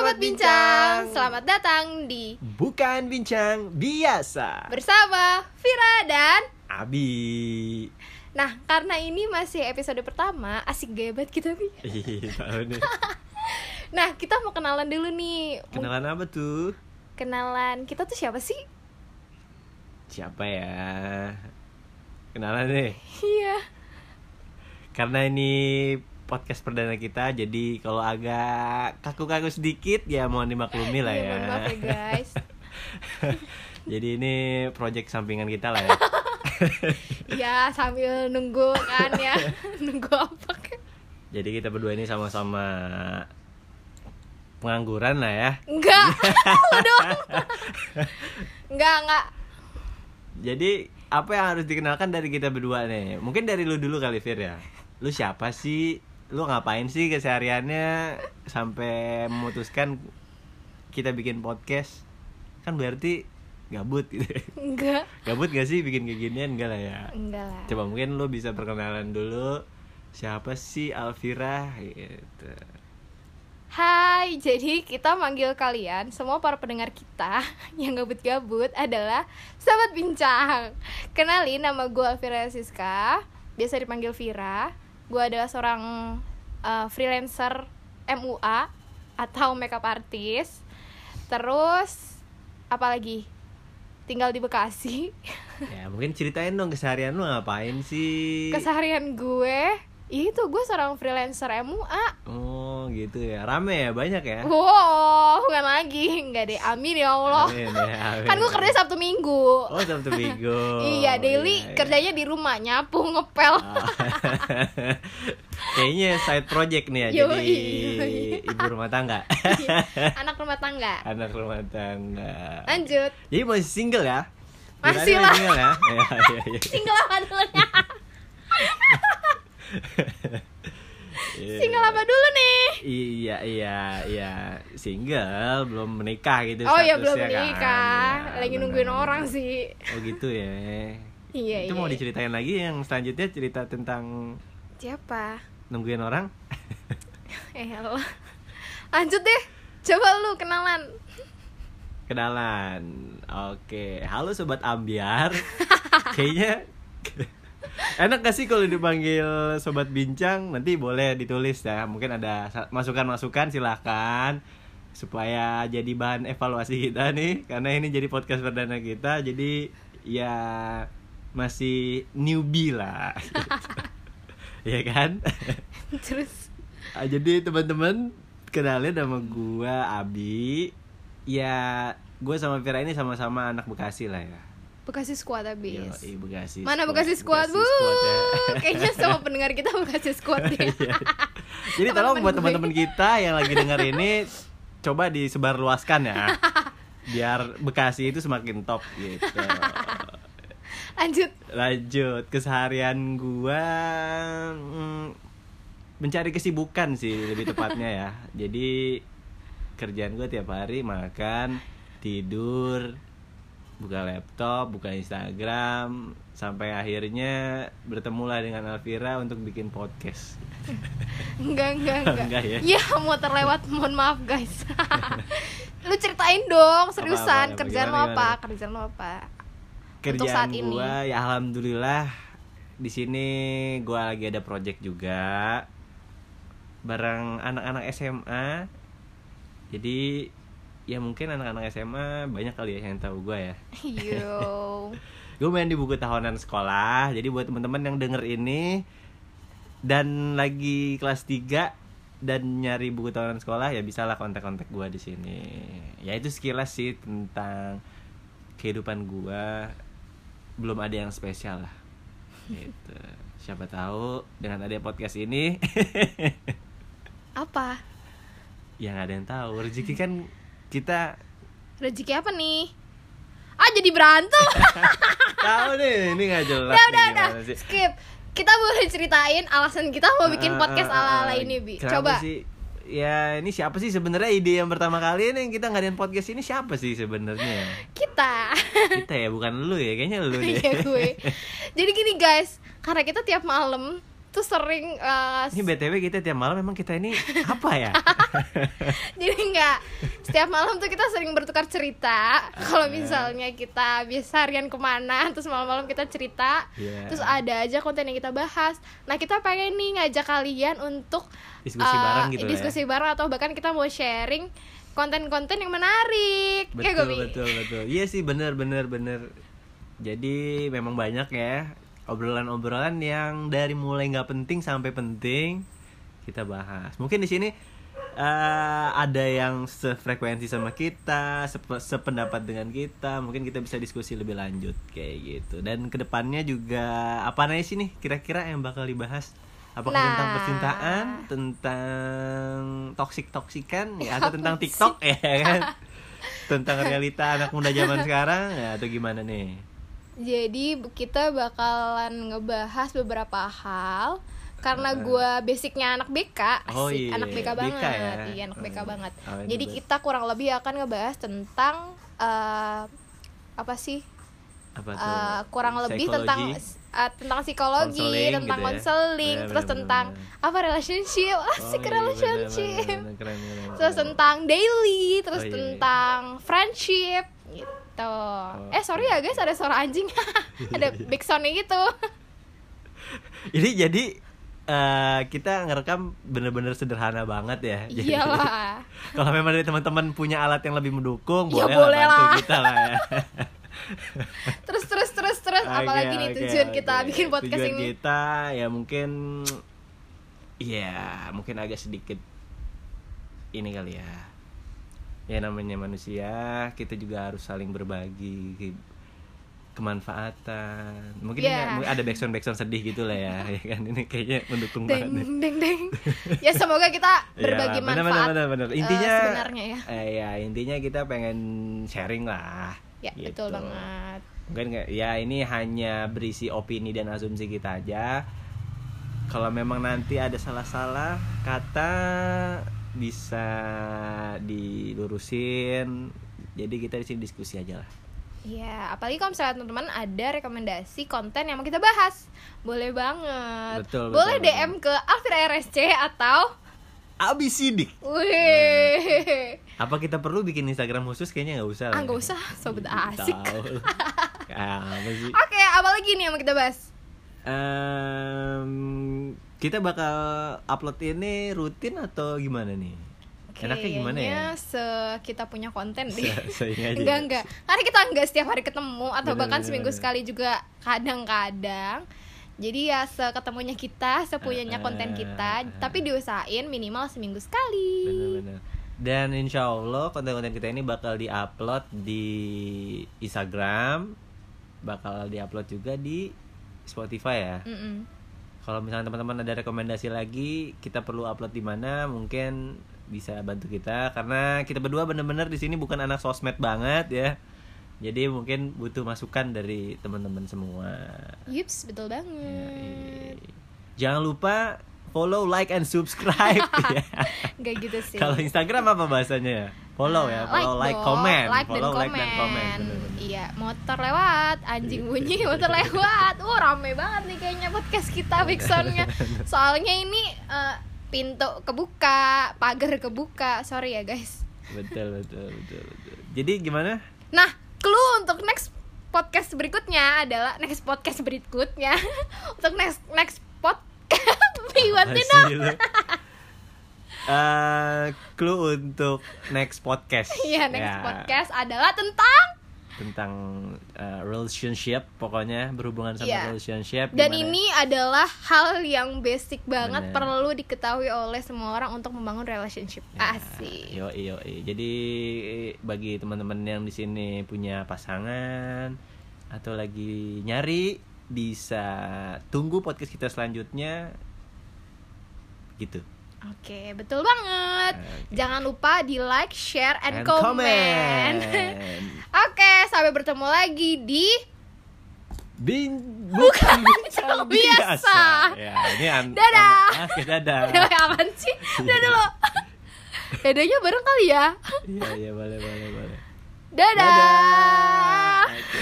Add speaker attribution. Speaker 1: Bincang. Selamat datang di
Speaker 2: Bukan bincang biasa.
Speaker 1: bersama Vira dan
Speaker 2: Abi.
Speaker 1: Nah, karena ini masih episode pertama, asik gaya banget kita nih.
Speaker 2: Ih, tahu nih.
Speaker 1: Nah, kita mau kenalan dulu nih. Mung-
Speaker 2: Kenalan apa tuh?
Speaker 1: Kenalan. Kita tuh siapa sih?
Speaker 2: Siapa ya? Kenalan nih.
Speaker 1: Iya.
Speaker 2: Karena ini podcast perdana kita, jadi kalau agak kaku-kaku sedikit ya mohon dimaklumi lah
Speaker 1: Iya,
Speaker 2: ya.
Speaker 1: mohon maaf ya, guys.
Speaker 2: jadi ini project sampingan kita lah ya.
Speaker 1: Iya, sambil nunggu kan ya. nunggu apa kan?
Speaker 2: Jadi kita berdua ini sama-sama pengangguran lah ya.
Speaker 1: Enggak. Lu doang. Enggak, enggak.
Speaker 2: Jadi apa yang harus dikenalkan dari kita berdua nih? Mungkin dari lu dulu kali Fir ya. Lu siapa sih? Lu ngapain sih kesehariannya sampai memutuskan kita bikin podcast? Kan berarti gabut gitu.
Speaker 1: Enggak.
Speaker 2: Gabut gak sih bikin kayak ginian? Enggak lah ya.
Speaker 1: Enggak lah.
Speaker 2: Coba mungkin lu bisa perkenalan dulu. Siapa sih Alvira gitu.
Speaker 1: Hai, jadi kita manggil kalian semua para pendengar kita yang gabut-gabut adalah sahabat bincang. Kenalin nama gue Vira Siska, biasa dipanggil Vira. Gue adalah seorang eh, freelancer MUA atau makeup artist. Terus apalagi tinggal di Bekasi.
Speaker 2: Ya, mungkin ceritain dong keseharian lu ngapain sih?
Speaker 1: Keseharian gue itu gue seorang freelancer MUA.
Speaker 2: Oh, gitu ya. Rame ya, banyak ya.
Speaker 1: Wow, bukan lagi, nggak deh. Amin ya Allah.
Speaker 2: Amin ya, amin.
Speaker 1: kan gue kerja Sabtu Minggu
Speaker 2: Oh Sabtu Minggu.
Speaker 1: iya
Speaker 2: Iya,
Speaker 1: daily
Speaker 2: iya.
Speaker 1: kerjanya di rumah nyapu ngepel
Speaker 2: Kayaknya side project nih ya
Speaker 1: Yoi,
Speaker 2: jadi
Speaker 1: yoi.
Speaker 2: ibu rumah tangga, Ah.
Speaker 1: anak rumah tangga
Speaker 2: anak rumah tangga.
Speaker 1: lanjut
Speaker 2: Jadi masih single ya?
Speaker 1: Masih
Speaker 2: Bilangnya
Speaker 1: lah.
Speaker 2: Single ya? Iya, iya, iya.
Speaker 1: single apa
Speaker 2: Iya.
Speaker 1: dulu nih single apa dulu nih
Speaker 2: Iya iya iya single belum menikah gitu
Speaker 1: oh ya
Speaker 2: statusnya
Speaker 1: belum
Speaker 2: kan.
Speaker 1: nikah
Speaker 2: Iya,
Speaker 1: lagi
Speaker 2: benar.
Speaker 1: nungguin orang sih
Speaker 2: Oh gitu ya.
Speaker 1: iya
Speaker 2: Itu mau
Speaker 1: iya
Speaker 2: diceritain lagi yang selanjutnya cerita tentang
Speaker 1: siapa
Speaker 2: nungguin orang.
Speaker 1: eh Allah lanjut deh coba lu kenalan
Speaker 2: Kenalan. Oke, halo sobat ambiar. Kayaknya enak gak sih kalau dipanggil sobat bincang? Nanti boleh ditulis ya. Mungkin ada sa- masukan-masukan silahkan supaya jadi bahan evaluasi kita nih karena ini jadi podcast perdana kita. Jadi ya masih newbie lah. Iya kan?
Speaker 1: terus
Speaker 2: Ah, jadi teman-teman kenalin nama gua Abi. Ya, gua sama Vira ini sama-sama anak Bekasi lah ya.
Speaker 1: Bekasi Squad abis
Speaker 2: Yoi, Bekasi.
Speaker 1: mana Bekasi Squad bu
Speaker 2: ya.
Speaker 1: kayaknya semua pendengar kita Bekasi Squad ya. deh
Speaker 2: Iya. Jadi tolong
Speaker 1: Teman-teman
Speaker 2: buat
Speaker 1: gue.
Speaker 2: teman-teman kita yang lagi dengar ini coba disebarluaskan ya. Biar Bekasi itu semakin top gitu.
Speaker 1: lanjut
Speaker 2: Lanjut, keseharian gua mm, mencari kesibukan sih lebih tepatnya ya. Jadi kerjaan gua tiap hari makan, tidur, buka laptop, buka Instagram sampai akhirnya bertemulah dengan Alvira untuk bikin podcast.
Speaker 1: Enggak, enggak, enggak.
Speaker 2: Enggak ya?
Speaker 1: Iya, mau terlewat. Mohon maaf, guys. Lu ceritain dong, seriusan.
Speaker 2: Apa, apa,
Speaker 1: kerjaan lo
Speaker 2: gimana,
Speaker 1: apa?
Speaker 2: gimana?
Speaker 1: Kerjaan lo apa?
Speaker 2: Kerjaan
Speaker 1: Untuk saat ini.
Speaker 2: gua ya alhamdulillah di sini gua lagi ada project juga bareng anak-anak SMA. Jadi ya mungkin anak-anak SMA banyak kali ya yang tahu gua ya.
Speaker 1: Yo.
Speaker 2: Gue main di buku tahunan sekolah. Jadi buat teman-teman yang denger ini dan lagi kelas 3 dan nyari buku tahunan sekolah ya bisalah kontak-kontak gua di sini. Ya itu sekilas sih tentang kehidupan gua belum ada yang spesial lah. Gitu. Siapa tahu dengan ada podcast ini
Speaker 1: Apa?
Speaker 2: yang ya ada yang tahu rezeki kan kita
Speaker 1: Rezeki apa nih? Ah, jadi berantem.
Speaker 2: tahu nih ini nggak jelas
Speaker 1: udah,
Speaker 2: nih
Speaker 1: udah, udah.
Speaker 2: gimana sih.
Speaker 1: Skip. Kita boleh ceritain alasan kita mau Oh, bikin
Speaker 2: Ah, ah,
Speaker 1: podcast
Speaker 2: ah,
Speaker 1: ala-ala
Speaker 2: ah.
Speaker 1: ini, Bi.
Speaker 2: Kenapa
Speaker 1: Coba.
Speaker 2: sih? Ya, ini siapa sih sebenarnya ide yang pertama kali ini yang kita ngadain podcast ini siapa sih sebenarnya?
Speaker 1: Kita.
Speaker 2: Kita ya, bukan lu ya, kayaknya lu deh.
Speaker 1: Iya, gue. Jadi gini, guys. Karena kita tiap malam tuh sering eh,
Speaker 2: Ini BTW kita tiap malam memang kita ini apa ya?
Speaker 1: jadi nggak setiap malam tuh kita sering bertukar cerita
Speaker 2: Iya.
Speaker 1: kalau misalnya kita biasa harian kemana terus malam-malam kita cerita
Speaker 2: Iya.
Speaker 1: terus ada aja konten yang kita bahas nah kita pengen nih ngajak kalian untuk
Speaker 2: Diskusi
Speaker 1: eh,
Speaker 2: bareng gitu lah ya.
Speaker 1: diskusi bareng atau bahkan kita mau sharing konten-konten yang menarik Ya,
Speaker 2: betul
Speaker 1: Gobi?
Speaker 2: betul betul iya sih bener bener bener jadi memang banyak ya obrolan-obrolan yang dari mulai nggak penting sampai penting kita bahas mungkin di sini eh, ada yang sefrekuensi sama kita sep- sependapat dengan kita mungkin kita bisa diskusi lebih lanjut kayak gitu dan kedepannya juga apa aja sih nih kira-kira yang bakal dibahas apakah
Speaker 1: Nah.
Speaker 2: tentang percintaan tentang toksik toksikan ya atau tentang TikTok ya kan tentang realita anak muda zaman sekarang ya, atau gimana nih
Speaker 1: Jadi kita bakalan ngebahas beberapa hal karena gua basicnya anak BK, asik,
Speaker 2: Oh iya,
Speaker 1: anak BK
Speaker 2: BK
Speaker 1: banget,
Speaker 2: ya.
Speaker 1: iya anak BK
Speaker 2: Hmm.
Speaker 1: banget.
Speaker 2: Apa yang
Speaker 1: Jadi
Speaker 2: dibahas?
Speaker 1: kita kurang lebih akan ngebahas tentang eh, apa sih?
Speaker 2: apa tuh
Speaker 1: Eh, kurang lebih tentang
Speaker 2: Psikologi?
Speaker 1: eh, tentang psikologi,
Speaker 2: Konseling
Speaker 1: tentang
Speaker 2: gitu ya.
Speaker 1: konseling,
Speaker 2: Iya,
Speaker 1: terus
Speaker 2: bener-bener.
Speaker 1: tentang apa relationship,
Speaker 2: Oh,
Speaker 1: asik
Speaker 2: iya,
Speaker 1: relationship.
Speaker 2: bener, bener, keren, keren,
Speaker 1: Terus
Speaker 2: keren.
Speaker 1: tentang daily,
Speaker 2: Oh,
Speaker 1: terus
Speaker 2: iya, iya.
Speaker 1: tentang friendship gitu.
Speaker 2: Oh,
Speaker 1: eh sorry
Speaker 2: iya.
Speaker 1: ya guys ada suara anjing, ada big sound gitu.
Speaker 2: ini jadi eh, kita ngerekam bener-bener sederhana banget ya Jadi,
Speaker 1: Iyalah.
Speaker 2: kalau memang dari teman-teman punya alat yang lebih mendukung
Speaker 1: Ya,
Speaker 2: boleh,
Speaker 1: boleh
Speaker 2: lah bantu
Speaker 1: lah.
Speaker 2: kita lah ya
Speaker 1: Terus terus terus terus Eh, apalagi
Speaker 2: Oke,
Speaker 1: nih
Speaker 2: oke,
Speaker 1: tujuan kita
Speaker 2: oke.
Speaker 1: bikin podcast
Speaker 2: Tujuan
Speaker 1: ini.
Speaker 2: kita ya mungkin ya mungkin agak sedikit ini kali ya. Ya namanya manusia, kita juga harus saling berbagi ke- kemanfaatan. Mungkin ini
Speaker 1: Ya.
Speaker 2: ada backsound backsound sedih gitu lah ya, ya kan ini kayaknya mendukung
Speaker 1: Deng
Speaker 2: banget. nih.
Speaker 1: deng deng. Ya semoga kita
Speaker 2: Iya,
Speaker 1: berbagi
Speaker 2: benar,
Speaker 1: manfaat.
Speaker 2: benar, benar, benar.
Speaker 1: eh,
Speaker 2: Intinya
Speaker 1: sebenarnya ya.
Speaker 2: eh, ya, intinya kita pengen sharing lah.
Speaker 1: Ya betul
Speaker 2: Gitu.
Speaker 1: banget.
Speaker 2: Mungkin nggak- ya ini hanya berisi opini dan asumsi kita aja. Kalau memang nanti ada salah-salah kata bisa dilurusin. Jadi kita di sini diskusi aja lah.
Speaker 1: Ya, apalagi kalau misalnya teman-teman ada rekomendasi konten yang mau kita bahas, boleh banget.
Speaker 2: Betul, betul,
Speaker 1: boleh
Speaker 2: betul.
Speaker 1: DM ke Alfira RSC atau
Speaker 2: Abi sidik.
Speaker 1: Wih,
Speaker 2: Apa kita perlu bikin Instagram khusus? Kayaknya nggak usah. lah
Speaker 1: ah
Speaker 2: ya.
Speaker 1: nggak usah, sobat asik.
Speaker 2: Tahu. Apa sih?
Speaker 1: Oke, apa lagi nih yang mau kita bahas?
Speaker 2: Em, kita bakal upload ini rutin atau gimana nih? Enaknya gimana ya?
Speaker 1: Kayaknya se- kita punya konten deh.
Speaker 2: Se- seenggaknya aja.
Speaker 1: enggak enggak. Karena kita enggak setiap hari ketemu atau
Speaker 2: Bener,
Speaker 1: bahkan
Speaker 2: bener,
Speaker 1: seminggu
Speaker 2: bener.
Speaker 1: sekali juga kadang-kadang. Jadi ya seketemunya
Speaker 2: Ah,
Speaker 1: kita, sepunyanya konten kita,
Speaker 2: Eh, eh, eh.
Speaker 1: tapi diusahain minimal seminggu sekali.
Speaker 2: Bener-bener. Dan insya Allah konten-konten kita ini bakal diupload di Instagram, bakal diupload juga di Spotify ya.
Speaker 1: Mm-mm.
Speaker 2: Kalau misalnya teman-teman ada rekomendasi lagi, kita perlu upload di mana, mungkin bisa bantu kita karena kita berdua bener-bener di sini bukan anak sosmed banget ya. Jadi mungkin butuh masukan dari teman-teman semua.
Speaker 1: Yups, betul
Speaker 2: Iya, Yoi.
Speaker 1: banget.
Speaker 2: Jangan lupa follow, like, and subscribe. ya.
Speaker 1: Enggak gitu sih.
Speaker 2: Kalau Instagram apa bahasanya ya? Follow ya, follow, like,
Speaker 1: dong.
Speaker 2: comment,
Speaker 1: like
Speaker 2: follow,
Speaker 1: dan
Speaker 2: like, dan Iya. comment.
Speaker 1: komen.
Speaker 2: Bener-bener.
Speaker 1: Iya, motor lewat, anjing bunyi, motor lewat. Uh, rame banget nih kayaknya podcast kita
Speaker 2: Iya.
Speaker 1: big sound-nya. Soalnya ini eh, pintu kebuka, pagar kebuka. Sorry ya, guys.
Speaker 2: Betul, betul, betul, betul. Jadi gimana?
Speaker 1: Nah, clue untuk next podcast berikutnya adalah next podcast berikutnya untuk next next podcast
Speaker 2: Apa
Speaker 1: Biwatin
Speaker 2: sih lu? Eh, clue untuk next podcast.
Speaker 1: Iya, next
Speaker 2: Ya,
Speaker 1: podcast adalah tentang
Speaker 2: tentang eh, relationship, pokoknya berhubungan sama
Speaker 1: Iya.
Speaker 2: relationship.
Speaker 1: Dan
Speaker 2: gimana?
Speaker 1: ini adalah hal yang basic banget
Speaker 2: Bener.
Speaker 1: perlu diketahui oleh semua orang untuk membangun relationship.
Speaker 2: Ya,
Speaker 1: Asik.
Speaker 2: Yoi yoi. Jadi bagi teman-teman yang di sini punya pasangan atau lagi nyari bisa tunggu podcast kita selanjutnya gitu.
Speaker 1: Oke, betul banget.
Speaker 2: Oke.
Speaker 1: Jangan lupa di like, share,
Speaker 2: And
Speaker 1: and,
Speaker 2: comment.
Speaker 1: comment. Oke, sampai bertemu lagi di
Speaker 2: Bin bukan
Speaker 1: cowok
Speaker 2: bincang
Speaker 1: biasa.
Speaker 2: Ya, ini an-
Speaker 1: Dadah.
Speaker 2: an- ah, dadah.
Speaker 1: apaan sih? Udah dulu. Dadanya bareng kali ya.
Speaker 2: Iya, iya boleh boleh boleh.
Speaker 1: Dadah.
Speaker 2: Oke.